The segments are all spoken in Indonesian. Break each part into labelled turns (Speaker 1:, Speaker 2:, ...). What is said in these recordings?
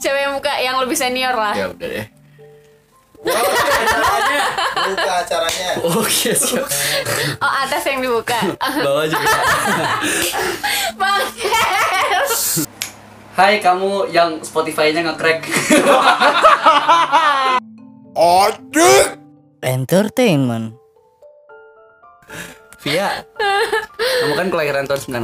Speaker 1: Cewek yang muka yang lebih senior lah.
Speaker 2: Iya.
Speaker 3: ya udah deh
Speaker 4: Oke, caranya. Buka acaranya.
Speaker 3: oke siap
Speaker 1: Oh atas yang dibuka.
Speaker 3: bawa aja
Speaker 1: Bang.
Speaker 2: Hai kamu yang Spotify-nya nge-crack.
Speaker 5: Entertainment.
Speaker 2: Via, kamu kan kelahiran tahun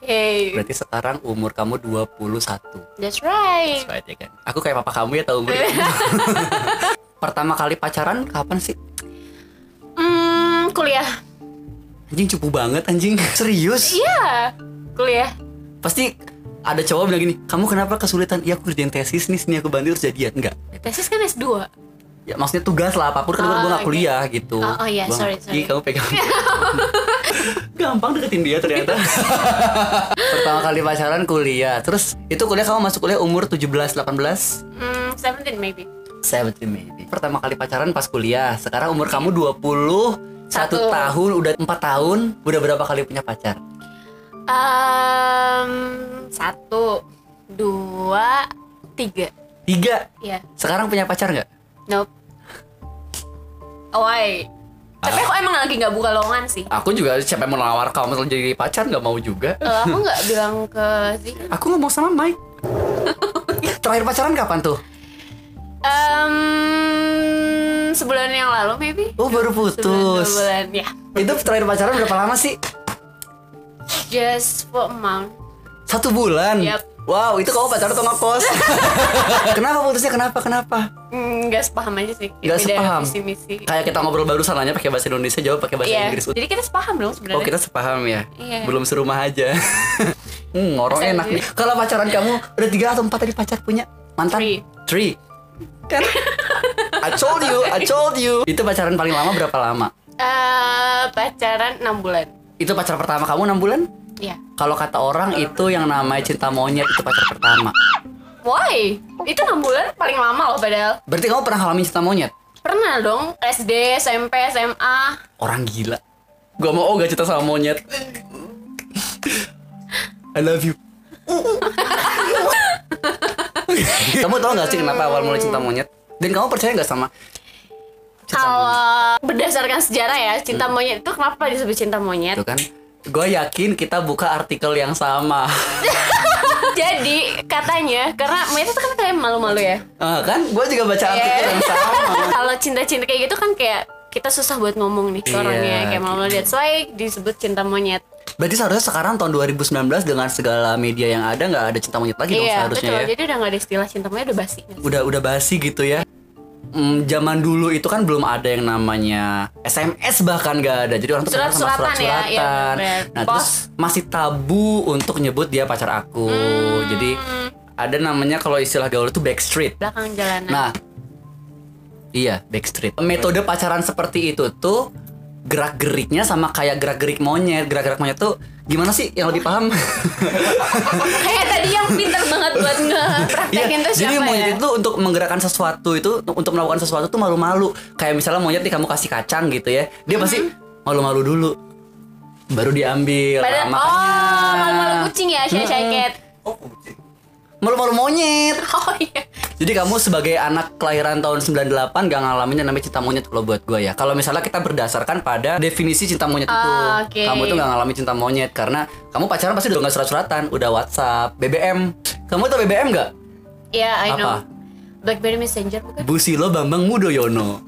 Speaker 2: 98.
Speaker 1: Hey,
Speaker 2: Berarti sekarang umur kamu 21.
Speaker 1: that's right.
Speaker 2: Right, ya kan? Aku kayak papa kamu ya tahu umur. Pertama kali pacaran kapan sih?
Speaker 1: Hmm, kuliah.
Speaker 2: Anjing cupu banget anjing. Serius?
Speaker 1: Iya, kuliah.
Speaker 2: Pasti ada cowok bilang gini, "Kamu kenapa kesulitan? Iya, aku kerjain tesis nih, sini aku bantu terus jadian." Enggak.
Speaker 1: Tesis kan S2.
Speaker 2: Ya maksudnya tugas lah apapun kan
Speaker 1: Oh,
Speaker 2: gue gak
Speaker 1: oke.
Speaker 2: kuliah gitu.
Speaker 1: Oh, oh, iya,
Speaker 2: Gua
Speaker 1: sorry,
Speaker 2: nggak-
Speaker 1: sorry.
Speaker 2: Ih, kamu pegang. Gampang deketin dia ternyata.
Speaker 1: Gitu.
Speaker 2: Pertama kali pacaran kuliah. Terus itu kuliah kamu masuk kuliah umur 17 18
Speaker 1: Hmm, 17 maybe.
Speaker 2: 17 maybe. Pertama kali pacaran pas kuliah. Sekarang umur kamu 21
Speaker 1: Satu.
Speaker 2: tahun, udah 4 tahun, udah berapa kali punya pacar?
Speaker 1: Um, satu, dua, tiga.
Speaker 2: 3.
Speaker 1: Ya,
Speaker 2: Sekarang punya pacar nggak?
Speaker 1: nope. Why? Tapi aku emang lagi nggak buka lowongan sih.
Speaker 2: Aku juga siapa yang mau nawar kamu jadi pacar nggak mau juga.
Speaker 1: Eh, aku nggak bilang ke sih.
Speaker 2: Aku ngomong sama Mike. Terakhir pacaran kapan tuh?
Speaker 1: Um, sebulan yang lalu maybe.
Speaker 2: Oh baru
Speaker 1: Sebulan, dua
Speaker 2: putus.
Speaker 1: bulan, ya.
Speaker 2: Itu terakhir pacaran berapa lama sih?
Speaker 1: Just for a month.
Speaker 2: Satu bulan.
Speaker 1: Yap.
Speaker 2: Wow, itu kamu pacaran atau ngekos? kenapa putusnya? Kenapa? Kenapa?
Speaker 1: Hmm, Nggak sepaham aja sih.
Speaker 2: Nggak sepaham.
Speaker 1: Visi misi.
Speaker 2: Kayak kita ngobrol baru sananya pakai bahasa Indonesia, jawab pakai bahasa
Speaker 1: Iya.
Speaker 2: Inggris.
Speaker 1: Jadi kita sepaham dong sebenarnya.
Speaker 2: Oh, kita sepaham ya.
Speaker 1: Iya.
Speaker 2: Belum serumah aja. hmm, ngorong
Speaker 1: Asal
Speaker 2: enak
Speaker 1: gitu.
Speaker 2: nih. Kalau pacaran kamu udah tiga atau empat tadi pacar punya mantan?
Speaker 1: Three.
Speaker 2: Three. Kan? I told you, I told you. Itu pacaran paling lama berapa lama?
Speaker 1: Eh, pacaran 6 bulan.
Speaker 2: Itu pacar pertama kamu enam bulan?
Speaker 1: Iya.
Speaker 2: Kalau kata orang itu yang namanya cinta monyet itu pacar pertama.
Speaker 1: Why? Itu 6 bulan paling lama loh padahal.
Speaker 2: Berarti kamu pernah ngalamin cinta monyet?
Speaker 1: Pernah dong SD, SMP, SMA.
Speaker 2: Orang gila. Gua mau oh gak cinta sama monyet. I love you. kamu tau gak sih kenapa awal mulai cinta monyet? Dan kamu percaya gak sama? cinta monyet?
Speaker 1: Kalau berdasarkan sejarah ya, cinta monyet itu kenapa disebut cinta monyet?
Speaker 2: Itu kan. Gue yakin kita buka artikel yang sama.
Speaker 1: Jadi katanya karena monyet itu kan kayak malu-malu ya.
Speaker 2: Ah, kan? Gue juga baca artikel yang sama.
Speaker 1: Kalau cinta-cinta kayak gitu kan kayak kita susah buat ngomong nih ke
Speaker 2: Iya,
Speaker 1: orangnya kayak malu-malu. That's why disebut cinta monyet.
Speaker 2: Berarti seharusnya sekarang tahun 2019 dengan segala media yang ada nggak ada cinta monyet lagi dong
Speaker 1: Iya,
Speaker 2: seharusnya
Speaker 1: betul.
Speaker 2: ya.
Speaker 1: Jadi udah nggak ada istilah cinta monyet udah basi.
Speaker 2: udah udah basi gitu ya. Mm, zaman dulu itu kan belum ada yang namanya SMS bahkan gak ada. Jadi orang tuh kenal sama
Speaker 1: Surat-suratan ya,
Speaker 2: surat-suratan.
Speaker 1: iya, bener.
Speaker 2: nah,
Speaker 1: Pos.
Speaker 2: terus masih tabu untuk nyebut dia pacar aku.
Speaker 1: Hmm.
Speaker 2: Jadi ada namanya kalau istilah gaul itu backstreet.
Speaker 1: Belakang jalanan.
Speaker 2: Nah, iya, backstreet. Metode pacaran seperti itu tuh gerak-geriknya sama kayak gerak-gerik monyet. Gerak-gerik monyet tuh gimana sih yang lebih paham?
Speaker 1: kayak tadi yang pinter banget buat
Speaker 2: Iya,
Speaker 1: ngepraktekin tuh siapa
Speaker 2: jadi monyet
Speaker 1: ya?
Speaker 2: itu untuk menggerakkan sesuatu itu untuk melakukan sesuatu tuh malu-malu. Kayak misalnya monyet nih kamu kasih kacang gitu ya, dia pasti malu-malu dulu, baru diambil.
Speaker 1: Mm-hmm. Padahal,
Speaker 2: Nah,
Speaker 1: oh,
Speaker 2: makanya-
Speaker 1: malu-malu kucing ya, Syah Syaket.
Speaker 4: Oh, kucing.
Speaker 2: Malu-malu monyet.
Speaker 1: Oh iya.
Speaker 2: Jadi kamu sebagai anak kelahiran tahun 98 gak ngalamin yang namanya cinta monyet kalau buat gue ya. Kalau misalnya kita berdasarkan pada definisi cinta monyet itu,
Speaker 1: Ah, oke.
Speaker 2: kamu tuh gak ngalamin cinta monyet karena kamu pacaran pasti udah gak surat-suratan, udah WhatsApp, BBM. Kamu tuh BBM gak?
Speaker 1: Iya, I know.
Speaker 2: Apa?
Speaker 1: Blackberry Messenger bukan?
Speaker 2: Busilo Bambang Mudoyono.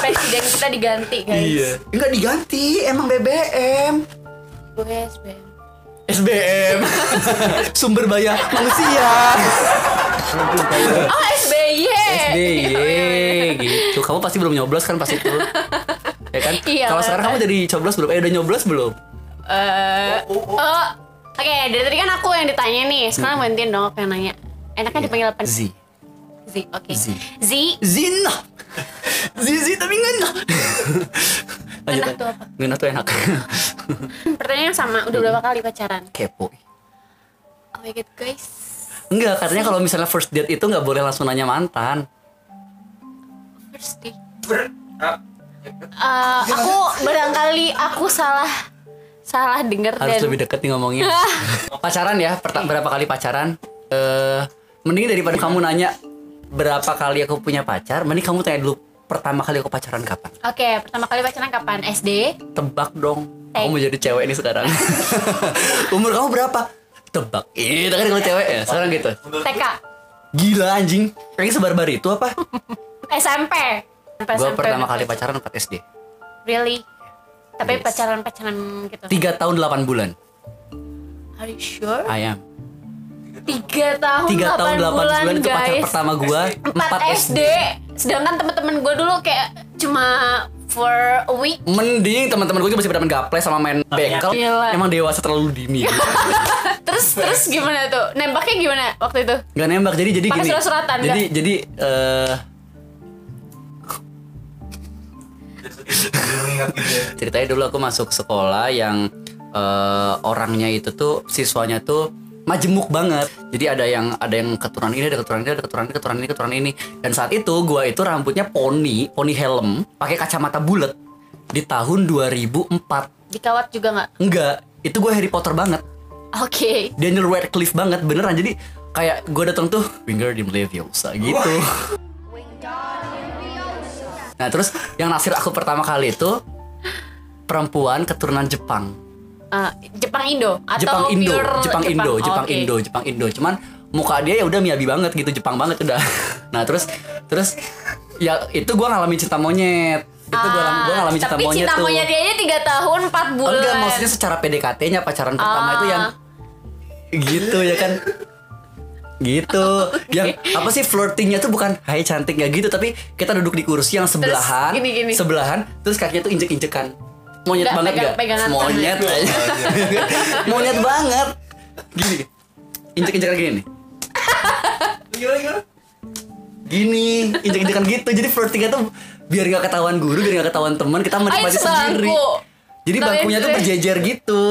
Speaker 1: Presiden kita diganti, guys.
Speaker 2: Iya. Enggak diganti, emang BBM.
Speaker 1: Oh, USBM.
Speaker 2: SBM. Sumber bayar manusia.
Speaker 1: Oh, SBY. Oh, iya,
Speaker 2: SBY gitu. Kamu pasti belum nyoblos kan pas itu. Ya kan?
Speaker 1: Iya,
Speaker 2: Kalau
Speaker 1: benar.
Speaker 2: sekarang kamu jadi coblos belum? Eh udah nyoblos belum?
Speaker 1: Eh, oh. Oke, dari tadi kan aku yang ditanya nih. Sekarang gantiin dong aku yang nanya. Enaknya dipanggil apa? Z.
Speaker 2: Hmm. Iya. Z.
Speaker 1: Oke.
Speaker 2: Z.
Speaker 1: Z.
Speaker 2: Zina. Zizi tapi ngena. Lanjut.
Speaker 1: Ngena tuh apa?
Speaker 2: Ngena tuh enak.
Speaker 1: Pertanyaan sama, udah berapa kali pacaran?
Speaker 2: Kepo.
Speaker 1: Oh my god, guys.
Speaker 2: Enggak, katanya kalau misalnya first date itu nggak boleh langsung nanya mantan.
Speaker 1: First date.
Speaker 4: Ber- ah.
Speaker 1: Eh, aku barangkali aku salah salah denger
Speaker 2: harus
Speaker 1: dan
Speaker 2: lebih deket nih ngomongnya pacaran ya perta- berapa kali pacaran eh mending daripada kamu nanya berapa kali aku punya pacar mending kamu tanya dulu pertama kali aku pacaran kapan
Speaker 1: Oke, pertama kali pacaran kapan? SD?
Speaker 2: tebak dong kamu
Speaker 1: Eh.
Speaker 2: mau jadi cewek nih sekarang umur kamu berapa tebak itu kan kalau cewek ya sekarang gitu
Speaker 1: TK?
Speaker 2: gila anjing kayaknya sebarbar itu apa
Speaker 1: SMP?
Speaker 2: gua
Speaker 1: SMP.
Speaker 2: pertama kali pacaran 4 SD
Speaker 1: Really? Tapi
Speaker 2: Yes.
Speaker 1: pacaran-pacaran gitu.
Speaker 2: 3 tahun 8 bulan
Speaker 1: Are you sure?
Speaker 2: I am
Speaker 1: Tiga tahun,
Speaker 2: 3
Speaker 1: delapan
Speaker 2: tahun 8 bulan,
Speaker 1: bulan,
Speaker 2: itu pacar
Speaker 1: guys.
Speaker 2: pertama gua
Speaker 1: 4 SD. Sedangkan teman-teman gue dulu kayak cuma for a week.
Speaker 2: Mending teman-teman gue masih pada main gaple sama main bengkel.
Speaker 1: Gila.
Speaker 2: Emang dewasa terlalu dini.
Speaker 1: Iya. Terus terus gimana tuh? Nembaknya gimana waktu itu?
Speaker 2: Gak nembak jadi jadi
Speaker 1: Pakai
Speaker 2: gini.
Speaker 1: surat-suratan,
Speaker 2: jadi jadi eh,
Speaker 4: Mengingat gitu ya.
Speaker 2: ceritanya dulu aku masuk sekolah yang eh, orangnya itu tuh siswanya tuh majemuk banget. Jadi ada yang ada yang keturunan ini, ada keturunan ini, ada keturunan ini, keturunan ini, keturunan ini. Dan saat itu gua itu rambutnya poni, poni helm, pakai kacamata bulat di tahun 2004.
Speaker 1: Dikawat juga nggak?
Speaker 2: Enggak, itu gue Harry Potter banget.
Speaker 1: Oke.
Speaker 2: Daniel Radcliffe banget beneran jadi kayak gue datang tuh finger di Leviosa gitu nah terus yang naksir aku pertama kali itu perempuan keturunan Jepang
Speaker 1: Eh, Jepang Indo atau
Speaker 2: Jepang Indo
Speaker 1: pure
Speaker 2: Jepang Indo Jepang
Speaker 1: Oke.
Speaker 2: Indo Jepang Indo cuman muka dia ya udah miyabi banget gitu Jepang banget udah nah terus terus ya itu gue ngalamin cinta monyet itu gue
Speaker 1: Ah,
Speaker 2: ngalamin cinta
Speaker 1: tapi
Speaker 2: monyet
Speaker 1: cinta
Speaker 2: tuh
Speaker 1: monyet dia aja 3 tahun 4 bulan.
Speaker 2: Enggak, maksudnya secara PDKT-nya pacaran pertama
Speaker 1: Ah.
Speaker 2: itu yang gitu ya kan. Gitu.
Speaker 1: Oh,
Speaker 2: Yang apa sih flirtingnya tuh bukan hai cantik nggak gitu, tapi kita duduk di kursi yang sebelahan,
Speaker 1: gini, gini.
Speaker 2: sebelahan, terus kakinya tuh injek-injekan. Monyet
Speaker 1: Nggak,
Speaker 2: banget
Speaker 1: pegang-
Speaker 2: nggak?
Speaker 1: pegangan tangan.
Speaker 2: Monyet. aja. Monyet banget. Gini. Injek-injekan gini nih.
Speaker 4: Gimana gimana?
Speaker 2: Gini, injek-injekan gitu. Jadi flirtingnya tuh biar nggak ketahuan guru, biar nggak ketahuan teman, kita menikmati sendiri.
Speaker 1: sebangku.
Speaker 2: Jadi
Speaker 1: Tapi
Speaker 2: bangkunya tuh
Speaker 1: serius.
Speaker 2: berjejer gitu.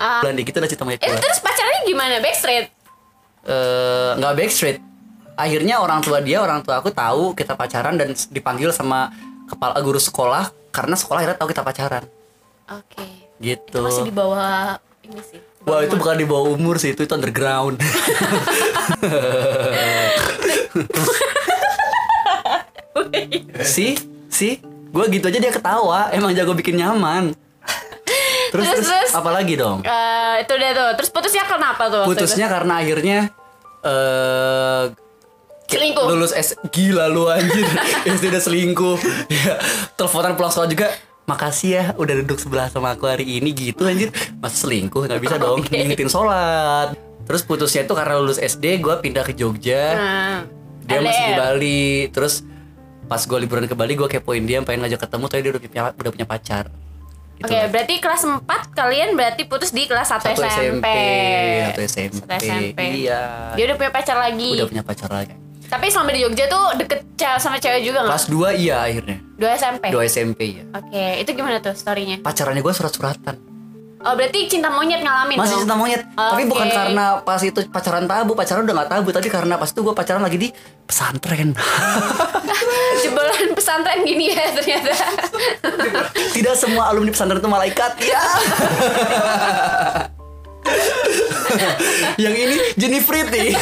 Speaker 1: Ah.
Speaker 2: Bulan dikit udah cinta monyet
Speaker 1: Eh,
Speaker 2: keluar.
Speaker 1: terus pacarnya gimana? Backstreet?
Speaker 2: eh nggak backstreet akhirnya orang tua dia orang tua aku tahu kita pacaran dan s- dipanggil sama kepala guru sekolah karena sekolah akhirnya tahu kita pacaran
Speaker 1: Oke. Itu
Speaker 2: gitu
Speaker 1: masih di bawah ini sih. di bawah
Speaker 2: Wah itu
Speaker 1: umur.
Speaker 2: bukan di bawah umur sih itu, itu underground si si gue gitu aja dia ketawa emang jago bikin nyaman terus
Speaker 1: Terus,
Speaker 2: terus,
Speaker 1: terus.
Speaker 2: apalagi dong
Speaker 1: Eh, itu dia tuh. Terus putusnya kenapa tuh? waktu
Speaker 2: putusnya karena akhirnya eh
Speaker 1: Selingkuh.
Speaker 2: lulus S gila lu anjir SD udah selingkuh ya, teleponan pulang sekolah juga makasih ya udah duduk sebelah sama aku hari ini gitu anjir masa selingkuh nggak bisa dong
Speaker 1: Oke.
Speaker 2: ngingetin sholat terus putusnya itu karena lulus SD gue pindah ke
Speaker 1: itu?
Speaker 2: Jogja
Speaker 1: Nah,
Speaker 2: dia masih di
Speaker 1: LDR.
Speaker 2: Bali terus pas gue liburan ke Bali gue kepoin dia pengen ngajak ketemu tapi dia udah punya udah punya pacar Gitu
Speaker 1: Oke,
Speaker 2: lah.
Speaker 1: berarti kelas 4 kalian berarti putus di kelas 1 SMP.
Speaker 2: Satu satu SMP,
Speaker 1: Satu SMP.
Speaker 2: iya
Speaker 1: Dia udah punya pacar lagi.
Speaker 2: udah punya pacar lagi
Speaker 1: Tapi selama di Jogja tuh deket ce- sama cewek juga nggak?
Speaker 2: kelas 2 iya akhirnya
Speaker 1: 2 SMP.
Speaker 2: 2 SMP ya
Speaker 1: Oke, itu gimana tuh storynya?
Speaker 2: pacarannya gue surat-suratan
Speaker 1: Oh, berarti cinta monyet ngalamin
Speaker 2: masih
Speaker 1: dong?
Speaker 2: cinta monyet tapi
Speaker 1: Gitu. Oke.
Speaker 2: bukan karena pas itu pacaran tabu pacaran udah gak tabu tapi karena pas itu gue pacaran lagi di pesantren
Speaker 1: Jebolan pesantren gini ya ternyata.
Speaker 2: tidak semua alumni pesantren itu malaikat ya yang ini Jenny Pretty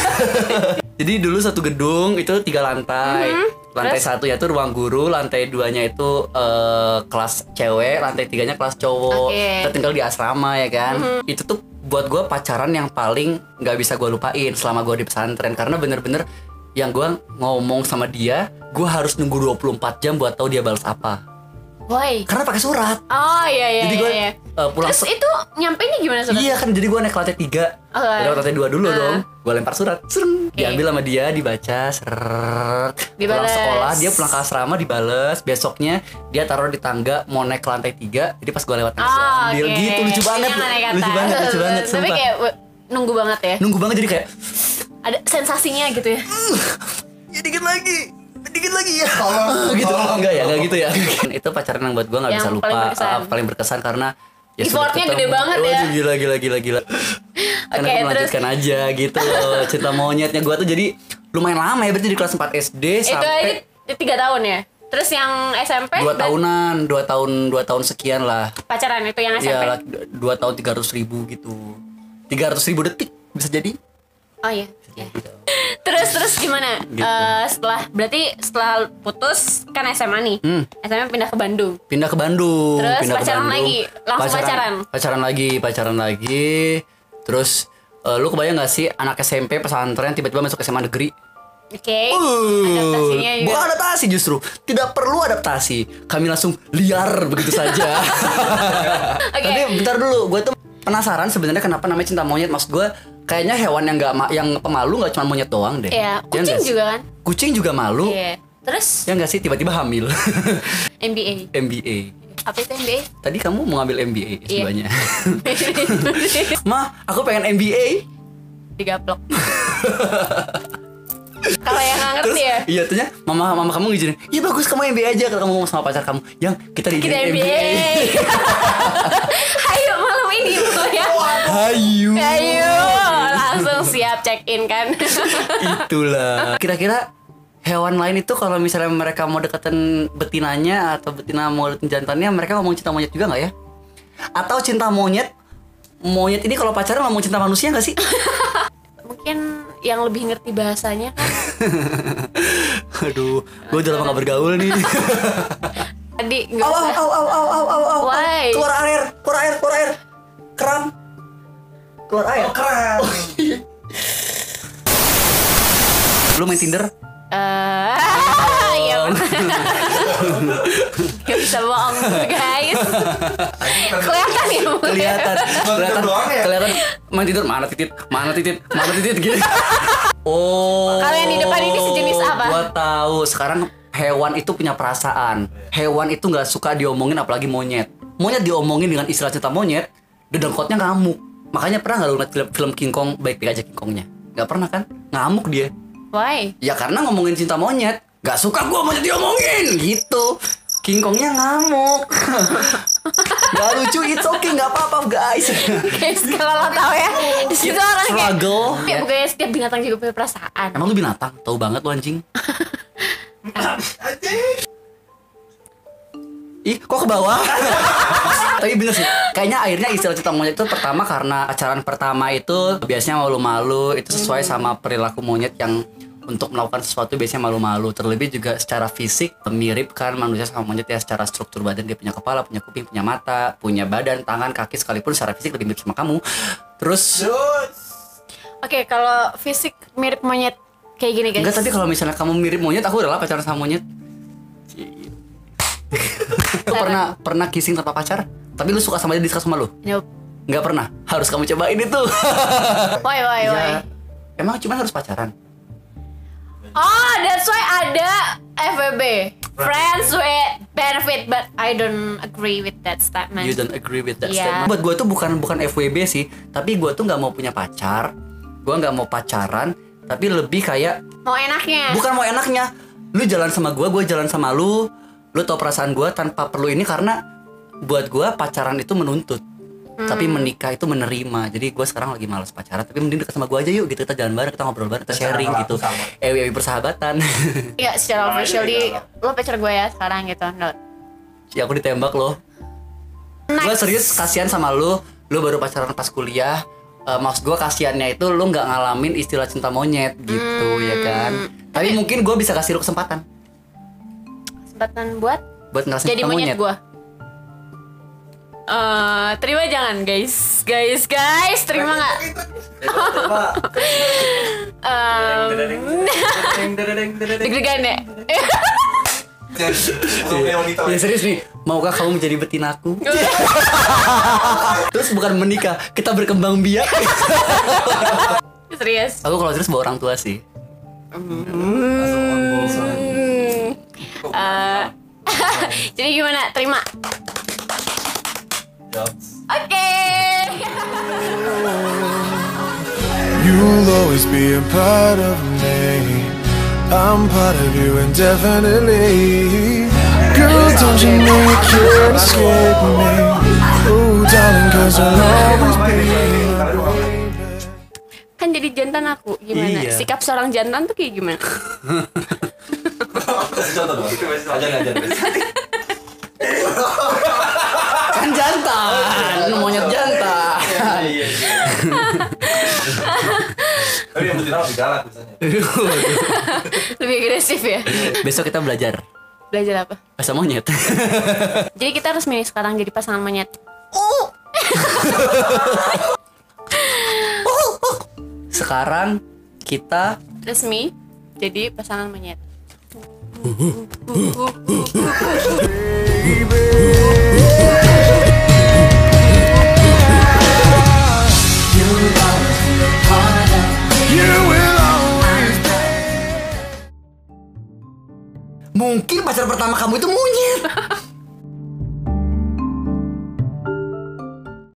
Speaker 2: jadi dulu satu gedung itu tiga lantai lantai
Speaker 1: Hmm, Terus?
Speaker 2: satu ya tuh ruang guru lantai duanya itu eh, kelas cewek lantai tiganya kelas cowok
Speaker 1: Oke. Hmm.
Speaker 2: Kita tinggal di asrama ya kan itu tuh buat gue pacaran yang paling nggak bisa gue lupain selama gue di pesantren karena bener-bener yang gue ngomong sama dia gue harus nunggu 24 jam buat tahu dia balas apa
Speaker 1: Woi.
Speaker 2: karena pakai surat
Speaker 1: Oh iya iya
Speaker 2: jadi gue
Speaker 1: iya. iya.
Speaker 2: uh, pulang
Speaker 1: Terus itu nyampe nya gimana surat?
Speaker 2: iya kan jadi gue naik ke lantai tiga
Speaker 1: Oke.
Speaker 2: Udah ke lantai dua dulu
Speaker 1: Oh, Ah.
Speaker 2: dong gue lempar surat Sereng.
Speaker 1: Oke.
Speaker 2: diambil sama dia dibaca serrrrrrrrrrrrrrrrrrrrrrrrrrrrrrrrr. pulang
Speaker 1: Dibales.
Speaker 2: sekolah dia pulang ke asrama dibales besoknya dia taruh di tangga mau naik ke lantai tiga jadi pas gue lewat naik
Speaker 1: Oh,
Speaker 2: ambil
Speaker 1: oke.
Speaker 2: gitu lucu banget
Speaker 1: Jangan naik
Speaker 2: lucu
Speaker 1: atas.
Speaker 2: banget lucu banget
Speaker 1: Tapi
Speaker 2: sumpah
Speaker 1: kayak w- nunggu banget ya.
Speaker 2: nunggu banget jadi kayak
Speaker 1: Ada sensasinya gitu ya.
Speaker 2: ya dikit lagi dikit lagi ya
Speaker 3: Oh,
Speaker 4: Tolong,
Speaker 2: Oh, gitu
Speaker 4: tolong.
Speaker 2: enggak ya enggak gitu ya itu pacaran yang buat gue nggak
Speaker 1: Yang
Speaker 2: bisa lupa
Speaker 1: paling berkesan.
Speaker 2: Ah, paling berkesan karena ya sudah
Speaker 1: Effortnya gede
Speaker 2: ketemu.
Speaker 1: banget ya.
Speaker 2: Waduh, gila gila gila gila
Speaker 1: Oke,
Speaker 2: Karena aku
Speaker 1: terus.
Speaker 2: melanjutkan aja gitu loh cinta monyetnya gue tuh jadi lumayan lama ya berarti di kelas 4 SD
Speaker 1: Itu aja
Speaker 2: sampai
Speaker 1: tiga tahun ya. Terus yang SMP
Speaker 2: dua
Speaker 1: dan
Speaker 2: tahunan dua tahun dua tahun sekian lah
Speaker 1: pacaran itu yang SMP.
Speaker 2: ya dua tahun tiga ratus ribu gitu tiga ratus ribu detik bisa jadi
Speaker 1: Oh iya.
Speaker 2: Gitu.
Speaker 1: Terus terus gimana? Eh, setelah berarti setelah putus kan SMA nih.
Speaker 2: Hmm.
Speaker 1: SMA pindah ke Bandung.
Speaker 2: pindah ke Bandung
Speaker 1: Terus
Speaker 2: pindah
Speaker 1: pacaran
Speaker 2: ke Bandung.
Speaker 1: lagi? Langsung pacaran?
Speaker 2: pacaran lagi pacaran lagi terus eh, lu kebayang gak sih anak SMP pesantren tiba-tiba masuk SMA negeri
Speaker 1: Oke.
Speaker 2: Uh,
Speaker 1: Adaptasinya ya. juga.
Speaker 2: bukan adaptasi justru tidak perlu adaptasi kami langsung liar begitu saja
Speaker 1: Oke.
Speaker 2: tapi bentar dulu gue tuh penasaran sebenarnya kenapa namanya cinta monyet maksud gue kayaknya hewan yang nggak ma- yang pemalu nggak cuma monyet doang deh
Speaker 1: Iya,
Speaker 2: nggak
Speaker 1: kucing
Speaker 2: sih?
Speaker 1: juga kan?
Speaker 2: kucing juga malu
Speaker 1: Iya. Terus
Speaker 2: ya nggak sih tiba-tiba hamil
Speaker 1: MBA.
Speaker 2: MBA
Speaker 1: Apa itu MBA?
Speaker 2: tadi kamu mau ngambil MBA
Speaker 1: Iya.
Speaker 2: sebanyak mah aku pengen MBA
Speaker 1: Digaplok. Kalau yang nggak ngerti ya.
Speaker 2: iya ternyata mama mama kamu ngizinin iya bagus kamu MBA aja kalau kamu mau sama pacar kamu yang kita diizinin
Speaker 1: Kita MBA. Ayo malam ini betul ya.
Speaker 2: Hayu.
Speaker 1: Ayo Ya, langsung siap check in kan.
Speaker 2: Itulah. Kira-kira hewan lain itu kalau misalnya mereka mau deketin betinanya atau betina mau deketin jantannya, mereka ngomong cinta monyet juga nggak ya? Atau cinta monyet? Monyet ini kalau pacaran ngomong cinta manusia nggak sih?
Speaker 1: Mungkin yang lebih ngerti bahasanya kan.
Speaker 2: Aduh, gue udah lama gak bergaul nih.
Speaker 1: Tadi nggak
Speaker 2: Au au
Speaker 1: usah.
Speaker 2: au au au au au au.
Speaker 1: Why?
Speaker 2: Keluar air, keluar air, keluar air. Keram. Keluar air.
Speaker 4: Oh, keren.
Speaker 2: Lu main Tinder?
Speaker 1: Eh, ya Gak bisa bohong guys. Kelihatan ya. Bu?
Speaker 2: kelihatan kelihatan
Speaker 4: doang ya?
Speaker 2: kelihatan main tidur mana titit mana titit mana titit gitu oh
Speaker 1: Kalau yang di depan ini sejenis apa?
Speaker 2: gua tahu sekarang hewan itu punya perasaan hewan itu nggak suka diomongin apalagi monyet monyet diomongin dengan istilah cinta monyet dedengkotnya ngamuk makanya pernah nggak lu ngeliat film, film King Kong baik-baik aja King Kongnya nggak pernah kan ngamuk dia
Speaker 1: Why?
Speaker 2: ya karena ngomongin cinta monyet nggak suka gua monyet diomongin gitu King Kongnya ngamuk Gak lucu, it's okay, gak apa-apa guys
Speaker 1: Guys kalau lo tau ya. Di situ orang kayak. "Oh,
Speaker 2: Struggle
Speaker 1: Tapi
Speaker 2: ya.
Speaker 1: bukannya setiap binatang juga punya perasaan.
Speaker 2: Emang lu binatang? Tahu banget lu anjing
Speaker 4: Anjing.
Speaker 2: Ih, kok ke bawah? Tapi bener sih, kayaknya akhirnya istilah cinta monyet itu pertama karena acaran pertama itu biasanya malu-malu, itu sesuai sama perilaku monyet yang untuk melakukan sesuatu biasanya malu-malu. Terlebih juga secara fisik mirip kan manusia sama monyet ya secara struktur badan dia punya kepala, punya kuping, punya mata, punya badan, tangan, kaki sekalipun secara fisik lebih mirip sama kamu. Terus
Speaker 4: Jus.
Speaker 1: Oke kalau fisik mirip monyet kayak gini guys.
Speaker 2: enggak tapi kalau misalnya kamu mirip monyet, aku udahlah pacaran sama monyet. Iya, lu pernah pernah kissing tanpa pacar? Tapi lu suka sama dia, dia suka sama lu?
Speaker 1: Nope.
Speaker 2: nggak pernah harus kamu cobain itu
Speaker 1: Why why why?
Speaker 2: Ya, emang cuma harus pacaran
Speaker 1: Oh, that's why ada FWB. Friends with benefit, but I don't agree with that statement.
Speaker 2: you don't agree with that
Speaker 1: Iya.
Speaker 2: statement buat gue tuh bukan bukan FWB sih tapi gue tuh nggak mau punya pacar gue nggak mau pacaran tapi lebih kayak
Speaker 1: Mau enaknya?
Speaker 2: bukan mau enaknya lu jalan sama gue gue jalan sama lu lu tau perasaan gue tanpa perlu ini karena buat gue pacaran itu menuntut tapi menikah itu menerima jadi gue sekarang lagi malas pacaran tapi mending dekat sama gue aja yuk gitu kita jalan bareng kita ngobrol bareng kita
Speaker 4: Secara
Speaker 2: sharing
Speaker 4: perlaku
Speaker 2: gitu
Speaker 4: sama.
Speaker 2: ewi ewi persahabatan
Speaker 1: Iya, secara
Speaker 4: Nah,
Speaker 1: officially
Speaker 4: iya,
Speaker 1: lo pacar gue ya sekarang gitu. No.
Speaker 2: ya aku ditembak loh
Speaker 1: Next.
Speaker 2: Gue serius kasihan sama lu Lu baru pacaran pas kuliah Eh, Maksud gue kasihannya itu lu nggak ngalamin istilah cinta monyet gitu ya
Speaker 1: Hmm.
Speaker 2: kan Tapi mungkin gue bisa kasih lu kesempatan
Speaker 1: Kesempatan buat
Speaker 2: Buat ngerasain
Speaker 1: jadi
Speaker 2: cinta
Speaker 1: monyet,
Speaker 2: monyet,
Speaker 1: gue. Eh, terima jangan guys, guys, guys, terima nggak? Eh, deg-degan ya.
Speaker 2: Ya serius nih Maukah kamu menjadi betinaku? Terus bukan menikah Kita berkembang biak
Speaker 1: Serius.
Speaker 2: Aku kalau serius bawa orang tua sih
Speaker 1: Hmm. Eh, jadi gimana? Terima. Oke.
Speaker 3: You'll always be a part of me. I'm part of you indefinitely. Girl, don't you know you can't escape me? Oh, darling, cause I'll always
Speaker 1: Kan jadi jantan aku gimana?
Speaker 2: Iya.
Speaker 1: Sikap seorang jantan tuh kayak gimana?
Speaker 3: Kasih contoh dong. Ajar ajar.
Speaker 2: kan jantan monyet jantan
Speaker 3: Iya. Tapi yang putih lebih galak biasanya.
Speaker 1: Lebih agresif ya.
Speaker 2: besok kita belajar
Speaker 1: Belajar apa?
Speaker 2: bahasa monyet
Speaker 1: Jadi kita harus milih sekarang jadi pasangan monyet.
Speaker 2: sekarang kita
Speaker 1: Resmi jadi pasangan monyet.
Speaker 6: You will always
Speaker 2: mungkin pacar pertama kamu itu monyet